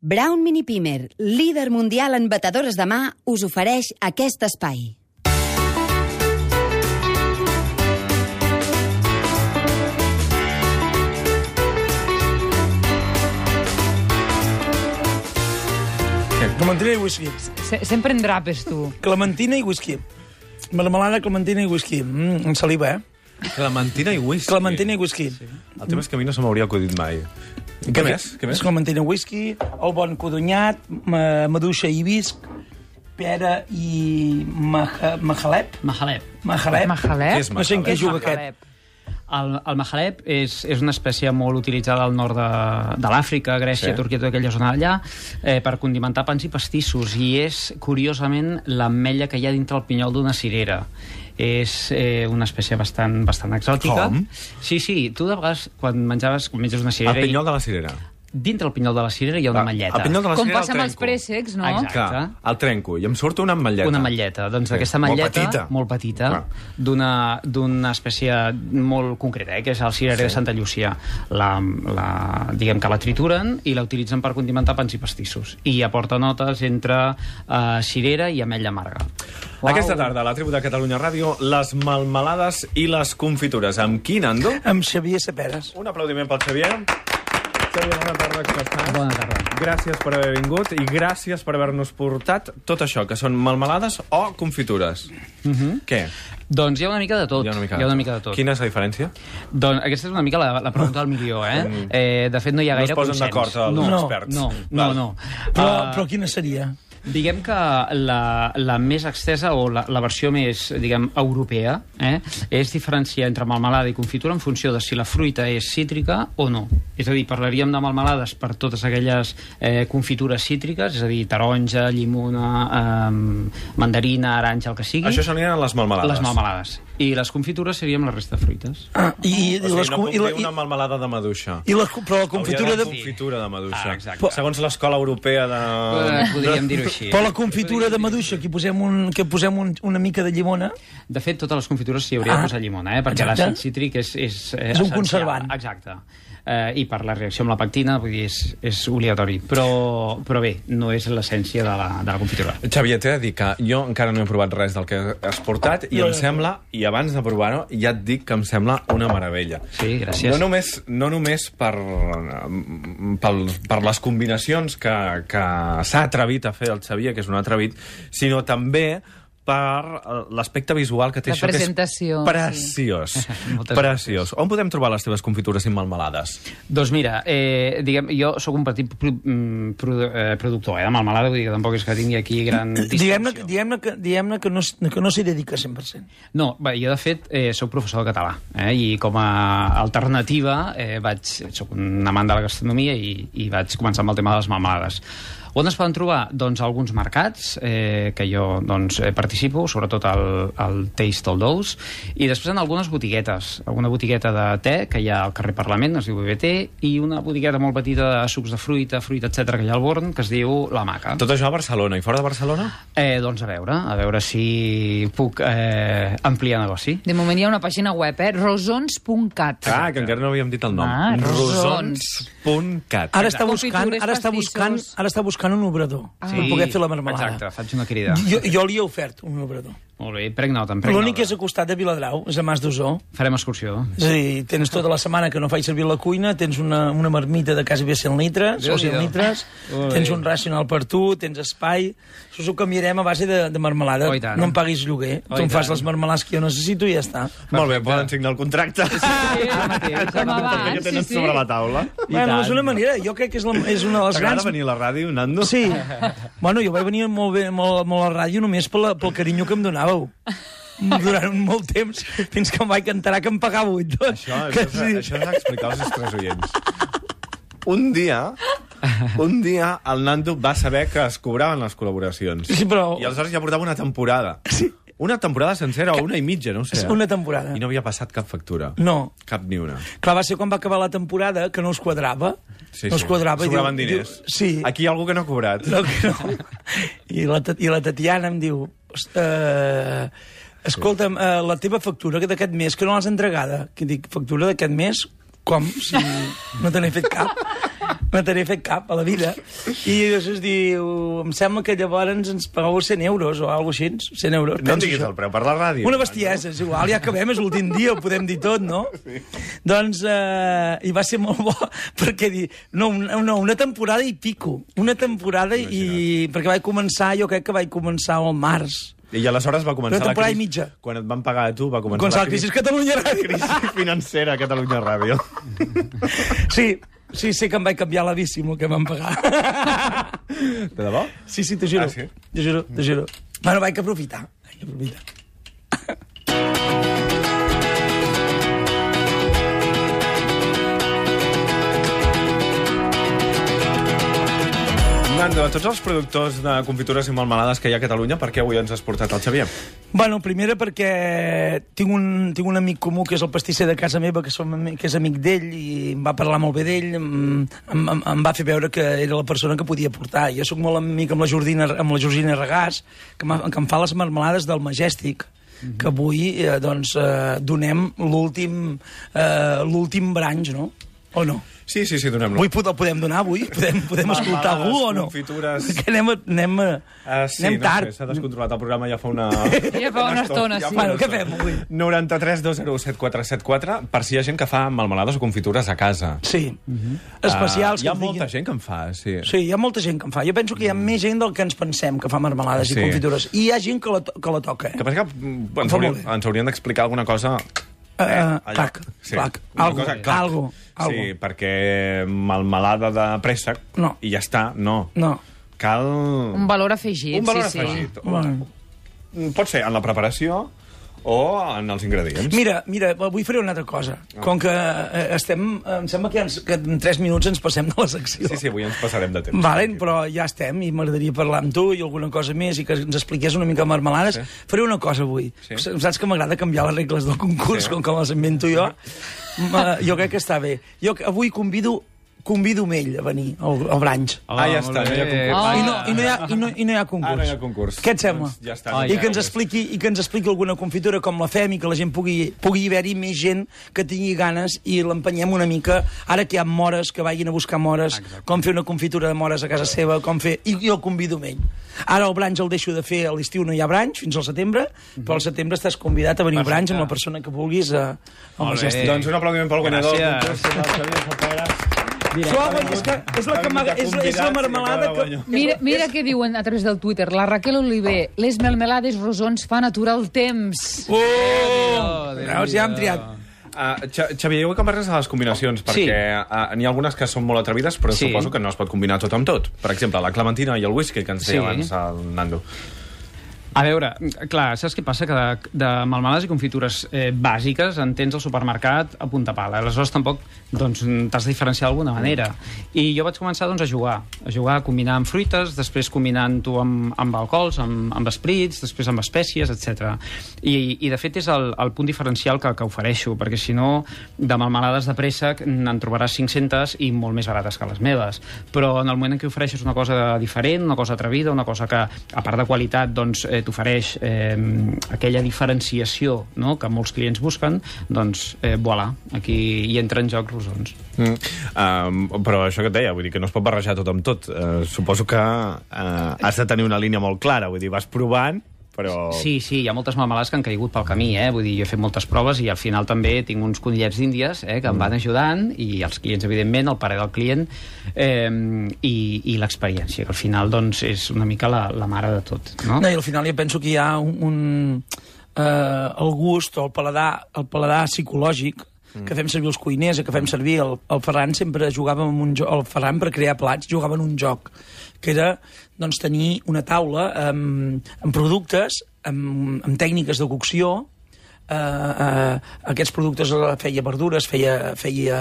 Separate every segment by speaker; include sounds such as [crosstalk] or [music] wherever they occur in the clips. Speaker 1: Brown Mini Pimer, líder mundial en batedores de mà, us ofereix aquest espai.
Speaker 2: Clementina i whisky.
Speaker 3: Se sempre en drapes,
Speaker 4: [laughs]
Speaker 3: tu.
Speaker 2: Clementina i whisky. Marmelada, clementina i whisky. Mm, amb saliva, eh?
Speaker 4: Clementina i whisky.
Speaker 2: Clementina i whisky. Sí.
Speaker 4: El tema és que a mi no se m'hauria acudit mai. I què més? Què més?
Speaker 2: Clementina i whisky, el bon codonyat, ma- maduixa i visc, pera i maja, majalep.
Speaker 5: Mahalep.
Speaker 2: Majalep.
Speaker 3: Mahalep?
Speaker 4: Què és
Speaker 2: No sé en què
Speaker 4: majalep?
Speaker 2: juga
Speaker 3: Mahalep.
Speaker 2: aquest.
Speaker 5: El, el mahalep és, és una espècie molt utilitzada al nord de, de l'Àfrica, Grècia,
Speaker 4: Sí.
Speaker 5: sí. Turquia, tota aquella zona d'allà, eh, per condimentar pans i pastissos, i és, curiosament, l'ametlla que hi ha dintre el pinyol d'una cirera. És eh, una espècie bastant, bastant exòtica.
Speaker 4: Com?
Speaker 5: Sí, sí. Tu, de vegades, quan menjaves, quan menges una
Speaker 4: El
Speaker 5: cirera... i-
Speaker 4: pinyol de la cirera.
Speaker 5: Dintre el pinyol de la cirera hi ha una ametlleta.
Speaker 4: El pinyol de la
Speaker 3: Com
Speaker 4: cirera
Speaker 3: passa
Speaker 4: el
Speaker 3: amb els
Speaker 4: trenco.
Speaker 3: préssecs, no?
Speaker 5: Exacte.
Speaker 4: Clar, el trenco i em surt una ametlleta.
Speaker 5: Una ametlleta. Doncs
Speaker 4: Sí,
Speaker 5: d'aquesta
Speaker 4: molt
Speaker 5: ametlleta...
Speaker 4: petita.
Speaker 5: Molt petita,
Speaker 4: Clar.
Speaker 5: d'una- d'una espècie molt concreta, eh, que és el cirerer
Speaker 4: Sí.
Speaker 5: sí. de Santa Llucia. La, la, diguem que la trituren i la utilitzen per condimentar pans i pastissos. I aporta notes entre eh, cirera i ametlla amarga.
Speaker 4: Aquesta tarda, a la tribu de Catalunya Ràdio, les melmelades i les confitures. Amb qui, Nando?
Speaker 2: Amb Xavier Saperes.
Speaker 4: Un aplaudiment pel Xavier. Xavier, bona tarda, com estàs?
Speaker 5: Bona tarda.
Speaker 4: Gràcies per haver vingut i gràcies per haver-nos portat tot això, que són melmelades o confitures. Mm
Speaker 5: Mhm.
Speaker 4: -hmm. Què?
Speaker 5: Doncs hi ha una mica de tot. mica de tot.
Speaker 4: Quina és la diferència?
Speaker 5: Doncs aquesta és una mica la, la pregunta del milió, eh? eh? De fet, no hi ha
Speaker 4: Mm. No es
Speaker 5: gaire
Speaker 4: posen
Speaker 5: consens.
Speaker 4: d'acord els
Speaker 5: no,
Speaker 4: experts.
Speaker 5: No, no,
Speaker 4: Val.
Speaker 5: no.
Speaker 2: Però,
Speaker 4: Ah.
Speaker 5: Eh,
Speaker 2: però quina seria?
Speaker 5: Diguem que la, la més extesa o la, la versió més, diguem, europea eh, és diferenciar entre melmelada i confitura en funció de si la fruita és cítrica o no. És a dir, parlaríem de melmelades per totes aquelles eh, confitures cítriques, és a dir, taronja, llimona, eh, mandarina, aranja, el que sigui.
Speaker 4: Això serien les melmelades.
Speaker 5: les melmelades. I les confitures seríem la resta de fruites.
Speaker 2: Ah, i, i,
Speaker 4: O sigui,
Speaker 2: les,
Speaker 4: no
Speaker 2: com-
Speaker 4: puc
Speaker 2: i, la,
Speaker 4: dir una
Speaker 2: i,
Speaker 4: melmelada de maduixa.
Speaker 2: i la, però la confitura
Speaker 4: Hauria
Speaker 2: de...
Speaker 4: de... confitura de maduixa.
Speaker 5: Ah, exacte.
Speaker 4: Segons l'escola europea de... Ah.
Speaker 5: Eh, podríem dir-ho així.
Speaker 2: Però la confitura de maduixa, que hi posem, un, que posem un, una mica de llimona...
Speaker 5: De fet, totes les confitures s'hi hauria
Speaker 2: Ah,
Speaker 5: de posar llimona, eh? perquè
Speaker 2: exacte.
Speaker 5: l'àcid cítric és...
Speaker 2: És
Speaker 5: És, eh,
Speaker 2: un
Speaker 5: essencial.
Speaker 2: conservant.
Speaker 5: Exacte. Eh, I per la reacció amb la pectina, vull dir, és, és obligatori. Però, però bé, no és l'essència de, la, de la confitura.
Speaker 4: Xavier, t'he de dir que jo encara no he provat res del que has portat i
Speaker 2: Jo
Speaker 4: em
Speaker 2: no.
Speaker 4: sembla, i abans de provar-ho, ja et dic que em sembla una meravella.
Speaker 5: Sí, gràcies.
Speaker 4: No només, no només per, per, per les combinacions que, que s'ha atrevit a fer el Xavier, que és un atrevit, sinó també per eh, l'aspecte visual que té
Speaker 3: La
Speaker 4: això, que és
Speaker 3: presentació, sí. [laughs]
Speaker 4: preciós.
Speaker 5: Moltes
Speaker 4: preciós. On podem trobar les teves confitures i melmelades?
Speaker 5: Doncs mira, eh, diguem, jo sóc un petit pro, mm, pro, eh, productor eh, de melmelada, vull dir que tampoc és que tingui aquí gran
Speaker 2: Diguem-ne
Speaker 5: distinció.
Speaker 2: que, diguem que, diguem que, no, s- que no s'hi dedica 100%.
Speaker 5: No, bé, jo de fet eh, sóc professor de català eh, i com a alternativa eh, vaig, sóc un amant de la gastronomia i, i vaig començar amb el tema de les mamades. On es poden trobar? Doncs a alguns mercats eh, que jo doncs, eh, participo, sobretot al, al Taste All Those, i després en algunes botiguetes. Alguna botigueta de te que hi ha al carrer Parlament, es diu BBT, i una botigueta molt petita de sucs de fruita, fruita, etc que hi ha al Born, que es diu La Maca.
Speaker 4: Tot això a Barcelona. I fora de Barcelona?
Speaker 3: Ah,
Speaker 5: Eh, doncs a veure, a veure si puc eh, ampliar negoci.
Speaker 3: De moment hi ha una pàgina web, eh? rosons.cat.
Speaker 4: Ah, que encara no havíem dit el nom.
Speaker 3: Ah, rosons. Ah,
Speaker 4: Rosons.cat.
Speaker 2: Ara està,
Speaker 3: Confitures,
Speaker 2: buscant, ara, està
Speaker 3: pastissos.
Speaker 2: buscant, ara està buscant un obrador ah. per poder fer la marmelada.
Speaker 5: Exacte, faig una crida.
Speaker 2: Jo, jo li he ofert un obrador.
Speaker 5: Molt bé, prenc nota, en prenc
Speaker 2: L'únic
Speaker 5: nota.
Speaker 2: és a costat de Viladrau, és a Mas d'Osó.
Speaker 5: Farem excursió.
Speaker 2: És a dir, tens tota la setmana que no faig servir la cuina, tens una, una marmita de quasi bé 100 litres, o 100
Speaker 5: Déu-n'hi-do. [laughs]
Speaker 2: litres,
Speaker 5: Ui.
Speaker 2: tens un racional per tu, tens espai... Això ho canviarem a base de, de marmelada.
Speaker 5: Oh, i tant.
Speaker 2: no em paguis lloguer.
Speaker 5: Oh,
Speaker 2: tu
Speaker 5: i
Speaker 2: em fas
Speaker 5: tant.
Speaker 2: les marmelades que jo necessito i ja està.
Speaker 4: Molt bé, poden signar el contracte.
Speaker 3: Sí, el mateix, com
Speaker 4: que
Speaker 3: abans, sí,
Speaker 4: tenen
Speaker 3: sí.
Speaker 4: sobre la taula.
Speaker 2: bueno, és una manera, jo crec que és, la, és una de les
Speaker 4: T'agrada
Speaker 2: grans...
Speaker 4: venir a la ràdio, Nando?
Speaker 2: Sí. Bueno, jo vaig venir molt, bé, molt, molt a la ràdio només pel, pel carinyo que em donàveu. Durant un molt temps, fins que em vaig enterar que em pagàveu i tot.
Speaker 4: Això,
Speaker 2: que
Speaker 4: això, s'ha- això s'ha d'explicar als nostres oients. Un dia, un dia el Nando va saber que es cobraven les col·laboracions.
Speaker 2: Sí, però-
Speaker 4: I aleshores ja portava una temporada. Sí. Una temporada sencera o una i mitja, no ho sé.
Speaker 2: És una temporada.
Speaker 4: I no havia passat cap factura.
Speaker 2: No.
Speaker 4: Cap ni una.
Speaker 2: Clar, va ser quan va acabar la temporada que no us quadrava. no us quadrava. i diu-
Speaker 4: Sobraven
Speaker 2: diu-
Speaker 4: diners.
Speaker 2: Sí.
Speaker 4: Aquí hi ha algú que no ha cobrat.
Speaker 2: No, que no. I, la, Tat- I la Tatiana em diu... Uh, escolta'm, uh, la teva factura que d'aquest mes, que no l'has entregada. Que dic, factura d'aquest mes? Com? Si no te n'he fet cap. no t'he fet cap a la vida. I això es diu... Em sembla que llavors ens pagau 100 euros o alguna cosa així. 100 euros.
Speaker 6: No
Speaker 2: pensa
Speaker 6: diguis
Speaker 2: això.
Speaker 6: el preu per la ràdio.
Speaker 2: Una bestiesa, és igual, ja acabem, és l'últim dia, ho podem dir tot, no? Sí. Doncs, eh, i va ser molt bo, [laughs] perquè dir, no, una, no, una temporada i pico, una temporada i... Perquè vaig començar, jo crec que vaig començar al març.
Speaker 6: I aleshores va començar
Speaker 2: Una
Speaker 6: la
Speaker 2: temporada
Speaker 6: crisi.
Speaker 2: i mitja.
Speaker 6: Quan et van pagar a tu, va començar,
Speaker 2: Començar la
Speaker 4: [laughs]
Speaker 2: crisi és Catalunya Ràdio.
Speaker 6: crisi financera a Catalunya Ràdio.
Speaker 2: Sí, sí, sí que em vaig canviar la bici amb el que em van pagar.
Speaker 6: De debò?
Speaker 2: Sí, sí, t'ho juro.
Speaker 6: Ah, sí?
Speaker 2: T'ho juro, t'ho juro. Bueno, vaig aprofitar. Vaig aprofitar.
Speaker 4: Nando, a tots els productors de confitures i melmelades que hi ha a Catalunya, per què avui ens has portat el Xavier?
Speaker 2: Bueno, primera perquè tinc un, tinc un amic comú que és el pastisser de casa meva, que, som, ami- que és amic d'ell, i em va parlar molt bé d'ell, em, em, em, em, va fer veure que era la persona que podia portar. Jo sóc molt amic amb la Jordina, amb la Georgina Regàs, que, m'ha- que em fa les marmelades del Majestic, que avui eh, doncs, eh, donem l'últim eh, l'últim branch, no? O no?
Speaker 4: Sí, sí, sí, donem-lo.
Speaker 2: Avui pod el podem donar, avui? Podem, podem
Speaker 4: Marmelades,
Speaker 2: escoltar algú o no?
Speaker 4: confitures.
Speaker 2: Que anem, a- anem, a-
Speaker 4: Ah, sí,
Speaker 2: anem
Speaker 4: no
Speaker 2: tard.
Speaker 4: sé, S'ha descontrolat el programa ja fa
Speaker 2: [laughs]
Speaker 4: una...
Speaker 3: Ja fa una estona, sí.
Speaker 2: Bueno, què fem avui?
Speaker 4: 93 7474 per si hi ha gent que fa melmelades o confitures a casa.
Speaker 2: Sí.
Speaker 4: Ah,
Speaker 2: Especials.
Speaker 4: hi
Speaker 2: que
Speaker 4: ha
Speaker 2: et
Speaker 4: molta
Speaker 2: diguin.
Speaker 4: gent que en fa, sí.
Speaker 2: Sí, hi ha molta gent que en fa. Jo penso que hi ha més gent del que ens pensem que fa marmelades
Speaker 4: Mm. Sí.
Speaker 2: i confitures. I hi ha gent que la, to- que la toca, eh?
Speaker 4: Que passa que mm,
Speaker 2: Em
Speaker 4: ens,
Speaker 2: fa
Speaker 4: haurien,
Speaker 2: molt bé.
Speaker 4: ens haurien d'explicar alguna cosa...
Speaker 2: Eh, eh,
Speaker 4: allà.
Speaker 2: clac,
Speaker 4: Sí,
Speaker 2: clac.
Speaker 4: una
Speaker 2: Algo,
Speaker 4: cosa, clac.
Speaker 2: algo, algo.
Speaker 4: Sí, perquè melmelada de préssec
Speaker 2: No.
Speaker 4: i ja està, no.
Speaker 2: No.
Speaker 4: Cal...
Speaker 3: Un valor afegit,
Speaker 4: Un valor
Speaker 3: sí,
Speaker 4: afegit.
Speaker 2: Bueno.
Speaker 4: Pot ser en la preparació o en els ingredients.
Speaker 2: Mira, mira, avui faré una altra cosa.
Speaker 4: Ah.
Speaker 2: Com que eh, estem... eh, Em sembla que, ens, que en 3 minuts ens passem de la secció.
Speaker 4: Sí, sí, avui ens passarem de temps.
Speaker 2: Valen, però ja estem i m'agradaria parlar amb tu i alguna cosa més i que ens expliqués una mica marmelades. Sí. Faré una cosa avui.
Speaker 4: Sí.
Speaker 2: Sí. Saps que m'agrada canviar les regles del concurs,
Speaker 4: Sí.
Speaker 2: sí. com que les invento jo. Ma, jo crec que està bé. Jo que- avui convido convido ell a venir al, al branch.
Speaker 4: Ah, ja està, no hi ha concurs.
Speaker 2: I, no, i, no hi ha, i, no, I no hi ha concurs.
Speaker 4: Ah, no hi ha concurs.
Speaker 2: Què et sembla?
Speaker 4: Doncs ja està.
Speaker 5: Ah,
Speaker 2: I
Speaker 5: ja,
Speaker 2: que, ens
Speaker 5: ja.
Speaker 2: expliqui, I que ens expliqui alguna confitura com la fem i que la gent pugui, pugui haver-hi més gent que tingui ganes i l'empenyem una mica. Ara que hi ha mores, que vagin a buscar mores, com fer una confitura de mores a casa seva, com fer... I jo el convido amb ell. Ara el branch el deixo de fer, a l'estiu no hi ha branch, fins al setembre,
Speaker 4: Mhm.
Speaker 2: però al setembre estàs convidat a venir al branch amb la persona que vulguis eh, a, a la
Speaker 5: Molt bé.
Speaker 2: gestió.
Speaker 4: Doncs un aplaudiment pel guanyador.
Speaker 5: Gràcies.
Speaker 2: Suau, és, que és la, que m'agrada- és, la- és la marmelada que...
Speaker 3: Mira, mira què diuen a través del Twitter. La Raquel Oliver, les melmelades rosons fan aturar el temps.
Speaker 2: Oh! Veus, ja hem triat.
Speaker 4: Uh, Xavier, jo vull que em parles de les combinacions, perquè uh, n'hi ha algunes que són molt atrevides, però
Speaker 5: Sí.
Speaker 4: suposo que no es pot combinar tot amb tot. Per exemple, la clementina i el whisky, que ens deia
Speaker 5: Sí.
Speaker 4: abans el Nando.
Speaker 5: A veure, clar, saps què passa? Que de, de melmelades i confitures eh, bàsiques en tens al supermercat a punta pala. Aleshores tampoc doncs, t'has de diferenciar d'alguna manera. I jo vaig començar doncs, a jugar, a jugar combinant amb fruites, després combinant-ho amb, amb alcohols, amb, amb esprits, després amb espècies, etc. I, I de fet és el, el punt diferencial que, que ofereixo, perquè si no, de melmelades de préssec n'en trobaràs 500 i molt més barates que les meves. Però en el moment en què ofereixes una cosa diferent, una cosa atrevida, una cosa que, a part de qualitat, doncs, eh, t'ofereix eh, aquella diferenciació no?, que molts clients busquen, doncs, eh, voilà, aquí hi entra en joc rosons.
Speaker 4: Mm. Um, però això que et deia, vull dir que no es pot barrejar tot amb tot.
Speaker 6: Eh,
Speaker 4: Uh, suposo que uh, has de tenir una línia molt clara, vull dir, vas provant, però...
Speaker 5: Sí, sí, hi ha moltes melmelades que han caigut pel camí, eh? Vull dir, jo he fet moltes proves i al final també tinc uns conillets d'índies eh, que em van ajudant i els clients, evidentment, el parer del client eh, i, i l'experiència, que al final doncs, és una mica la, la mare de tot. No?
Speaker 2: No, i al final jo penso que hi ha un... un eh, el gust o el paladar, el paladar psicològic que fem servir els cuiners, que fem servir el, el Ferran sempre jugava amb un joc, el Ferran per crear plats jugava en un joc que era doncs, tenir una taula amb, amb productes amb, amb tècniques de cocció eh, eh, aquests productes eh, feia verdures, feia, feia,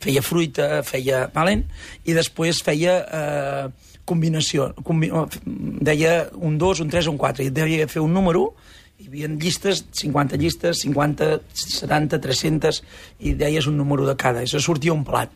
Speaker 2: feia fruita, feia... Valen? I després feia eh, combinació. Combi o, f- deia un 2, un 3, un 4. I devia fer un número hi havia llistes, 50 llistes, 50, 70, 300, i deies un número de cada. I se sortia un plat.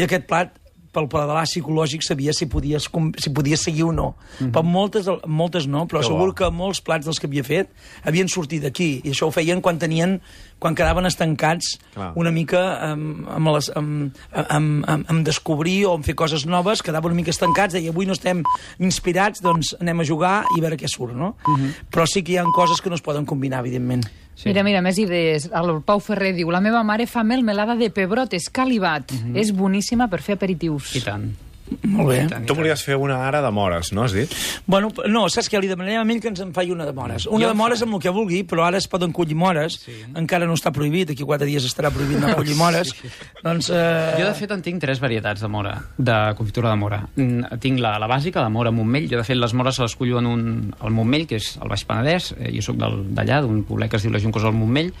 Speaker 2: I aquest plat pel paladar psicològic sabia si podies, com- si podies seguir o no. Mm -hmm. Per moltes, moltes no, però
Speaker 6: Mhm. Que
Speaker 2: que
Speaker 6: bo.
Speaker 2: segur que molts plats dels que havia fet havien sortit d'aquí, i això ho feien quan tenien quan quedaven estancats
Speaker 6: Clar.
Speaker 2: una mica amb, amb, les, amb, amb, amb, amb descobrir o amb fer coses noves, quedaven una mica estancats, deia avui no estem inspirats, doncs anem a jugar i a veure què surt, no? Mm
Speaker 6: Mhm.
Speaker 2: -hmm. Però sí que hi ha coses que no es poden combinar, evidentment.
Speaker 3: Sí. Mira, mira, més idees. El Pau Ferrer diu, la meva mare fa melmelada de pebrotes calibat.
Speaker 4: Mhm.
Speaker 3: Mm -hmm. És boníssima per fer aperitius.
Speaker 5: I tant.
Speaker 2: Molt bé.
Speaker 6: Tu volies fer una ara de mores, no has dit?
Speaker 2: Bueno, p- no, saps què? Li demanarem a ell que ens en faci una de mores. Una de mores amb el que vulgui, però ara es poden collir mores. Sí. Encara no està prohibit, aquí quatre dies estarà prohibit anar a collir mores. Sí. Doncs... Eh...
Speaker 5: Jo, de fet, en tinc tres varietats de mora, de confitura de mora. Mm, Tinc la, la bàsica, la mora amb Montmell. Jo, de fet, les mores se les cullo en un, al Montmell, que és al Baix Penedès. Eh, Jo sóc del- d'allà, d'un poblet que es diu la Juncosa al Montmell,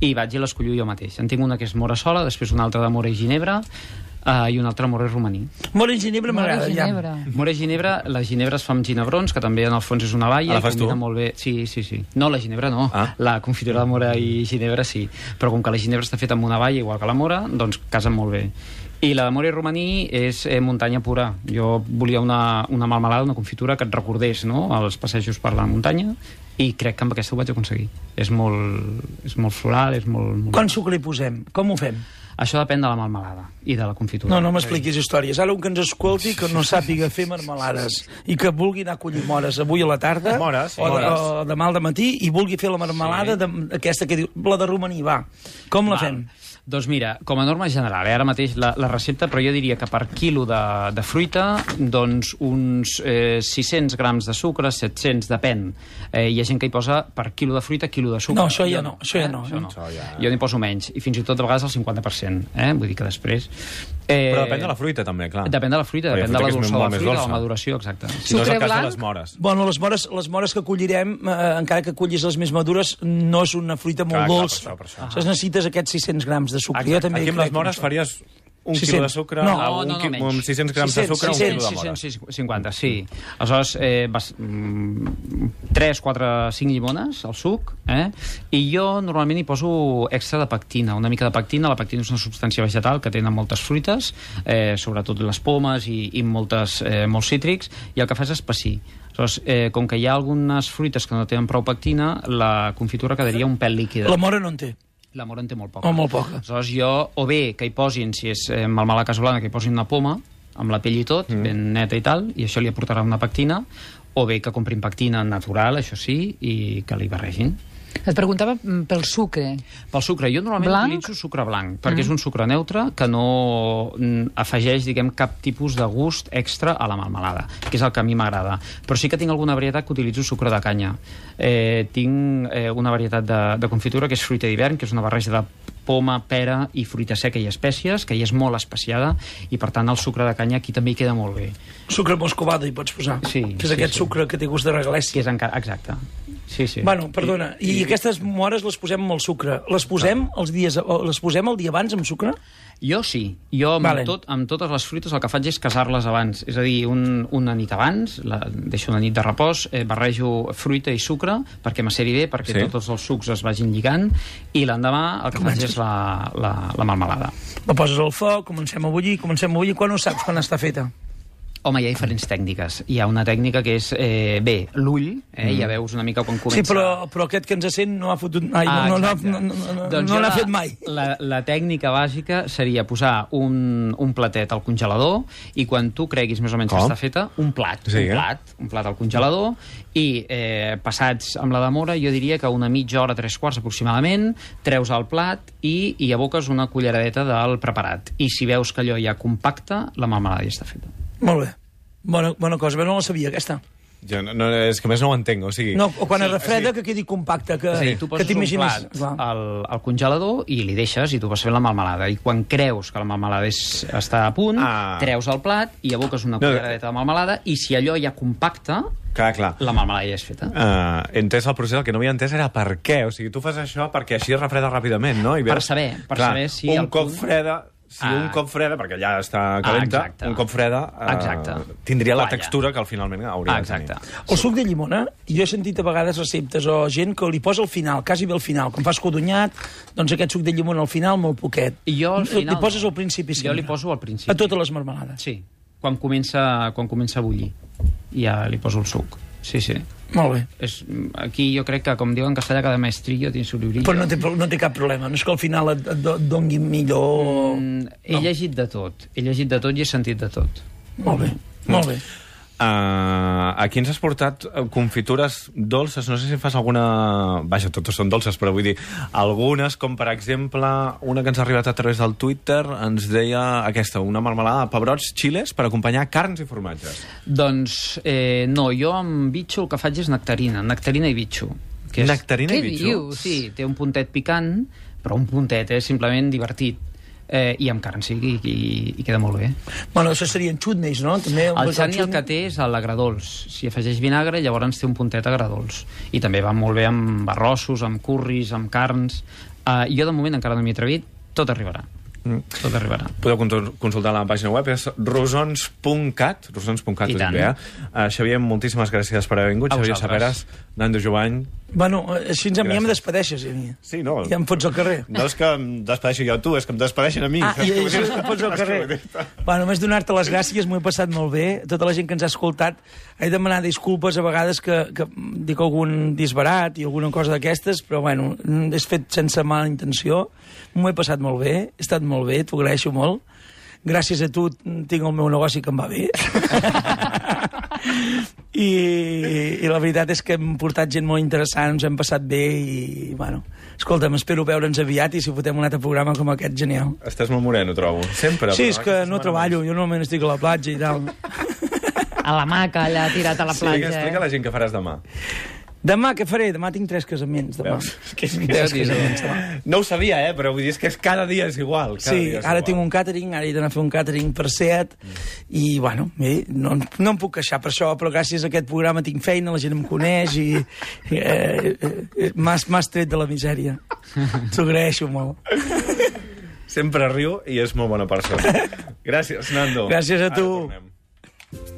Speaker 5: i vaig i les cullo jo mateix. En tinc una que és mora sola, després una altra de mora i ginebra, eh, i una altra mora i romaní.
Speaker 2: Mora i ginebra
Speaker 3: Mora i
Speaker 2: m'agrada,
Speaker 3: ginebra.
Speaker 2: ja.
Speaker 5: Mora i ginebra, la ginebra es fa amb ginebrons, que també en el fons és una
Speaker 6: Ah,
Speaker 5: baia.
Speaker 6: la
Speaker 5: i
Speaker 6: fas tu?
Speaker 5: combina Molt bé. Sí, sí, sí. No, la ginebra no.
Speaker 6: Ah.
Speaker 5: Ah. La confitura de mora i ginebra sí. Però com que la ginebra està feta amb una baia, igual que la mora, doncs casen molt bé. I la de mora i romaní és eh, muntanya pura. Jo volia una, una melmelada, una confitura que et recordés no? els passejos per la muntanya i crec que amb aquesta ho vaig aconseguir. És molt, és molt floral, és molt... molt...
Speaker 2: Quant sucre hi posem? Com ho fem?
Speaker 5: Això depèn de la melmelada i de la confitura.
Speaker 2: No, no m'expliquis històries. Ara un que ens escolti que no sàpiga fer marmelades i que vulgui anar a collir mores avui a la tarda
Speaker 6: Mores,
Speaker 2: o, de,
Speaker 6: mores.
Speaker 2: o demà al matí i vulgui fer la marmelada sí. de, aquesta que diu, la de romaní, va. Com la
Speaker 5: Val.
Speaker 2: fem?
Speaker 5: Doncs mira, com a norma general, eh, ara mateix la, la recepta, però jo diria que per quilo de, de fruita, doncs uns eh, 600 grams de sucre, 700, depèn. Eh, hi ha gent que hi posa per quilo de fruita, quilo de sucre.
Speaker 2: No, això ja
Speaker 5: Jo
Speaker 2: no, això ja no, eh?
Speaker 5: Això no. Jo n'hi poso menys, i fins i tot de vegades el 50%, eh? vull dir que després... Eh,
Speaker 6: Però depèn de la fruita, també, clar.
Speaker 5: Depèn de la fruita,
Speaker 6: Perquè
Speaker 5: depèn de la
Speaker 6: que és
Speaker 5: dolçor de la
Speaker 6: molt més
Speaker 5: fruita, dolça. la maduració, exacte.
Speaker 6: No
Speaker 5: Sí.
Speaker 6: és
Speaker 3: Sucre
Speaker 6: el cas
Speaker 3: blanc?
Speaker 6: de les mores.
Speaker 2: Bueno, les mores, les mores que collirem, eh, encara que collis les més madures, no és una fruita molt
Speaker 6: Clar, clar, per això,
Speaker 2: dolça.
Speaker 6: per això.
Speaker 2: Aleshores necessites aquests 600 grams de sucre. Jo també
Speaker 6: Aquí amb
Speaker 2: crec
Speaker 6: les mores
Speaker 2: en això.
Speaker 6: faries un
Speaker 2: Sí,
Speaker 6: quilo
Speaker 2: sí.
Speaker 6: de sucre,
Speaker 2: No,
Speaker 6: a un
Speaker 5: no, no,
Speaker 6: qui-
Speaker 5: menys.
Speaker 6: amb 600 grams
Speaker 2: 600,
Speaker 6: de sucre, un quilo de mores.
Speaker 5: 650, sí. Aleshores, eh, vas, mm, 3, 4, 5 llimones al suc, eh? i jo normalment hi poso extra de pectina, una mica de pectina. La pectina és una substància vegetal que tenen moltes fruites, eh, sobretot les pomes i, i moltes, eh, molts cítrics, i el que fas és passir. Aleshores, eh, com que hi ha algunes fruites que no tenen prou pectina, la confitura quedaria un pèl líquida.
Speaker 2: La mora no en té.
Speaker 5: L'amor en té molt poca.
Speaker 2: O molt poca.
Speaker 5: Aleshores, jo, o bé que hi posin, si és eh, malmala casolana, que hi posin una poma, amb la pell i tot, mm. ben neta i tal, i això li aportarà una pectina, o bé que comprin pectina natural, això sí, i que li barregin.
Speaker 3: Et preguntava mm, pel sucre.
Speaker 5: Pel sucre, jo normalment
Speaker 3: Blanc?
Speaker 5: utilitzo sucre blanc, perquè és un sucre neutre que no mm, afegeix, diguem, cap tipus de gust extra a la melmelada, que és el que a mi m'agrada. Però sí que tinc alguna varietat que utilitzo sucre de canya. Eh, tinc eh, una varietat de, de confitura que és fruita d'hivern, que és una barreja de poma, pera i fruita seca i espècies, que hi és molt especiada, i per tant el sucre de canya aquí també hi queda molt bé.
Speaker 2: Sucre moscovado hi pots posar,
Speaker 5: Sí,
Speaker 2: que és
Speaker 5: sí,
Speaker 2: aquest
Speaker 5: sí.
Speaker 2: sucre que té gust de
Speaker 5: Que
Speaker 2: regalèssia.
Speaker 5: és encara... Exacte. Sí, sí.
Speaker 2: Bueno, perdona, i, i aquestes mores les posem amb el sucre. Les posem, els dies, o les posem el dia abans amb sucre?
Speaker 5: Jo sí. Jo amb,
Speaker 2: Vale.
Speaker 5: vale. tot, amb totes les fruites el que faig és casar-les abans. És a dir, un, una nit abans, la, deixo una nit de repòs, eh, barrejo fruita i sucre perquè maceri bé, perquè
Speaker 6: Sí.
Speaker 5: sí. tots els sucs es vagin lligant, i l'endemà el que faig és la, la, la melmelada.
Speaker 2: La poses al foc, comencem a bullir, comencem a bullir, quan ho saps, quan està feta?
Speaker 5: Home, hi ha diferents tècniques. Hi ha una tècnica que és, eh, bé, l'ull, eh, ja veus una mica quan comença...
Speaker 2: Sí, però, però aquest que ens sent no ha fotut... Ai,
Speaker 5: Ah,
Speaker 2: no, no,
Speaker 5: exacte.
Speaker 2: no, no, no,
Speaker 5: Doncs
Speaker 2: no
Speaker 5: jo
Speaker 2: l'ha
Speaker 5: la-
Speaker 2: fet mai.
Speaker 5: La, la tècnica bàsica seria posar un, un platet al congelador i quan tu creguis més o menys
Speaker 6: Com?
Speaker 5: que està feta, un plat,
Speaker 6: Sí, eh?
Speaker 5: un plat, un plat al congelador i eh, passats amb la demora, jo diria que una mitja hora, tres quarts aproximadament, treus el plat i hi aboques una culleradeta del preparat. I si veus que allò ja compacta, la melmelada ja està feta.
Speaker 2: Molt bé. Bona, bona cosa, però no la sabia, aquesta.
Speaker 6: Jo no, no, és que a més no ho entenc, o sigui...
Speaker 2: No, o quan sí, es refreda, sí. que quedi compacte, que,
Speaker 5: És a dir, tu
Speaker 2: que
Speaker 5: poses un
Speaker 2: t'imagines...
Speaker 5: plat Ah.
Speaker 2: Va.
Speaker 5: al, al congelador i li deixes i tu vas fent la melmelada. I quan creus que la melmelada és, està a punt,
Speaker 6: Ah.
Speaker 5: ah. treus el plat i aboques una
Speaker 6: No, no.
Speaker 5: culleradeta de melmelada i si allò ja compacta,
Speaker 6: Clar, clar.
Speaker 5: la melmelada ja és feta.
Speaker 4: Ah, Eh,
Speaker 6: Uh, entès el procés, el que no havia entès era per què. O sigui, tu fas això perquè així es refreda ràpidament, no? I
Speaker 5: Per saber, per saber si
Speaker 6: Un
Speaker 5: el
Speaker 6: cop
Speaker 5: punt-
Speaker 6: freda,
Speaker 4: Si ah. un
Speaker 5: Ah.
Speaker 4: cop freda, perquè ja està calenta,
Speaker 5: Ah, exacte.
Speaker 4: un cop freda eh,
Speaker 5: Exacte.
Speaker 4: tindria la
Speaker 5: Guanya.
Speaker 4: textura que al finalment hauria
Speaker 5: Ah,
Speaker 4: de
Speaker 5: exacte.
Speaker 4: tenir.
Speaker 2: El suc de llimona, jo he sentit a vegades receptes o gent que li posa al final, quasi bé al final. Quan fas codonyat, doncs aquest suc de llimona al final, molt poquet.
Speaker 5: I jo al final...
Speaker 2: Li poses al principi sempre.
Speaker 5: Jo li poso al principi.
Speaker 2: A totes les marmelades.
Speaker 5: Sí, quan comença, quan comença a bullir. Ja li poso el suc. Sí, sí.
Speaker 2: Molt bé.
Speaker 5: És, aquí jo crec que, com diuen en castellà, cada maestrillo tiene su librillo.
Speaker 2: Però no té, no té cap problema. No és que al final et, et do- dongui millor...
Speaker 5: Mm, He no. llegit de tot. He llegit de tot i he sentit de tot.
Speaker 2: Molt bé, molt bé.
Speaker 4: Uh, aquí ens has portat eh, confitures dolces, no sé si fas alguna... Vaja, totes són dolces, però vull dir, algunes, com per exemple, una que ens ha arribat a través del Twitter, ens deia aquesta, una marmelada de pebrots xiles per acompanyar carns i formatges.
Speaker 5: Doncs eh, no, jo amb bitxo el que faig és nectarina, nectarina i bitxo. Que és...
Speaker 4: Nectarina i
Speaker 3: Què
Speaker 4: bitxo.
Speaker 3: dius?
Speaker 5: Sí, té un puntet picant, però un puntet, eh, simplement divertit. Eh, I amb carn, sí, i, i, i queda molt bé.
Speaker 2: Bueno, això serien xutneis, no? També
Speaker 5: El xani el
Speaker 2: xutney-
Speaker 5: que té és l'agradols. Si afegeix vinagre, llavors té un puntet agradols. I també va molt bé amb arrossos, amb curris, amb carns... Uh, jo, de moment, encara no m'hi he atrevit. Tot arribarà. Mm. Tot arribarà.
Speaker 4: Podeu contu- consultar la pàgina web, és rosons.cat, rosons.cat,
Speaker 5: I
Speaker 4: és
Speaker 5: tant.
Speaker 4: bé, eh? Xavier, moltíssimes gràcies per haver vingut,
Speaker 5: A
Speaker 4: Xavier Saperas,
Speaker 5: vosaltres.
Speaker 4: Nando Jovany.
Speaker 2: Bueno, eh, així a mi ja em
Speaker 4: Gràcies.
Speaker 2: despedeixes, a mi.
Speaker 6: Sí, no.
Speaker 2: Ja em fots al carrer.
Speaker 6: No és que em despedeixi jo a tu, és que em despedeixen a mi.
Speaker 2: Ah, i,
Speaker 6: Saps què vull
Speaker 2: i
Speaker 6: dir? [laughs]
Speaker 2: em fots al
Speaker 6: Saps què vull
Speaker 2: carrer.
Speaker 6: dir?
Speaker 2: Bueno, només donar-te les gràcies, m'ho he passat molt bé. Tota la gent que ens ha escoltat, he demanat disculpes a vegades que, que dic algun disbarat i alguna cosa d'aquestes, però bueno, és fet sense mala intenció. M'ho he passat molt bé, he estat molt bé, t'ho agraeixo molt. Gràcies a tu tinc el meu negoci que em va bé. I, I la veritat és que hem portat gent molt interessant, ens hem passat bé i, bueno, escolta'm, espero veure'ns aviat i si fotem un altre programa com aquest, genial.
Speaker 4: Estàs molt moreno, trobo. Sempre. però
Speaker 2: Sí, és que
Speaker 4: aquesta
Speaker 2: no
Speaker 4: setmana
Speaker 2: treballo, jo normalment estic a la platja i tal.
Speaker 3: A la maca, allà, tirat a la
Speaker 4: més. Sí,
Speaker 3: platja. eh?
Speaker 2: eh?
Speaker 4: explica a la gent què faràs demà.
Speaker 2: [laughs] Demà què faré? Demà tinc tres casaments, demà. Tinc tres casaments, demà.
Speaker 4: No ho sabia, eh, però vull dir, és que és cada dia és igual. Cada
Speaker 2: Sí,
Speaker 4: dia és
Speaker 2: ara
Speaker 4: igual.
Speaker 2: tinc un càtering, ara he d'anar a fer un càtering per SEAT, i, bueno, bé, no, no em puc queixar per això, però gràcies a aquest programa tinc feina, la gent em coneix, i eh, eh, m'has m'has tret de la misèria. T'ho agraeixo molt.
Speaker 4: Sempre riu i és molt bona
Speaker 2: [laughs]
Speaker 4: persona. Gràcies, Nando.
Speaker 2: Gràcies a
Speaker 4: Ara
Speaker 2: tu.
Speaker 4: tornem.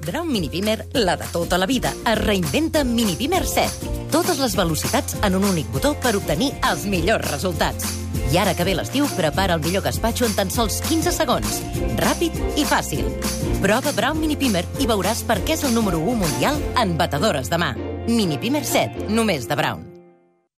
Speaker 7: Draw Mini Beamer, la de tota la vida. Es reinventa Mini Beamer 7. Totes les velocitats en un únic botó per obtenir els millors resultats. I ara que ve l'estiu, prepara el millor gaspatxo en tan sols 15 segons. Ràpid i fàcil. Prova Draw Mini Beamer i veuràs per què és el número 1 mundial en batedores de mà. Mini Beamer 7, només de Brown.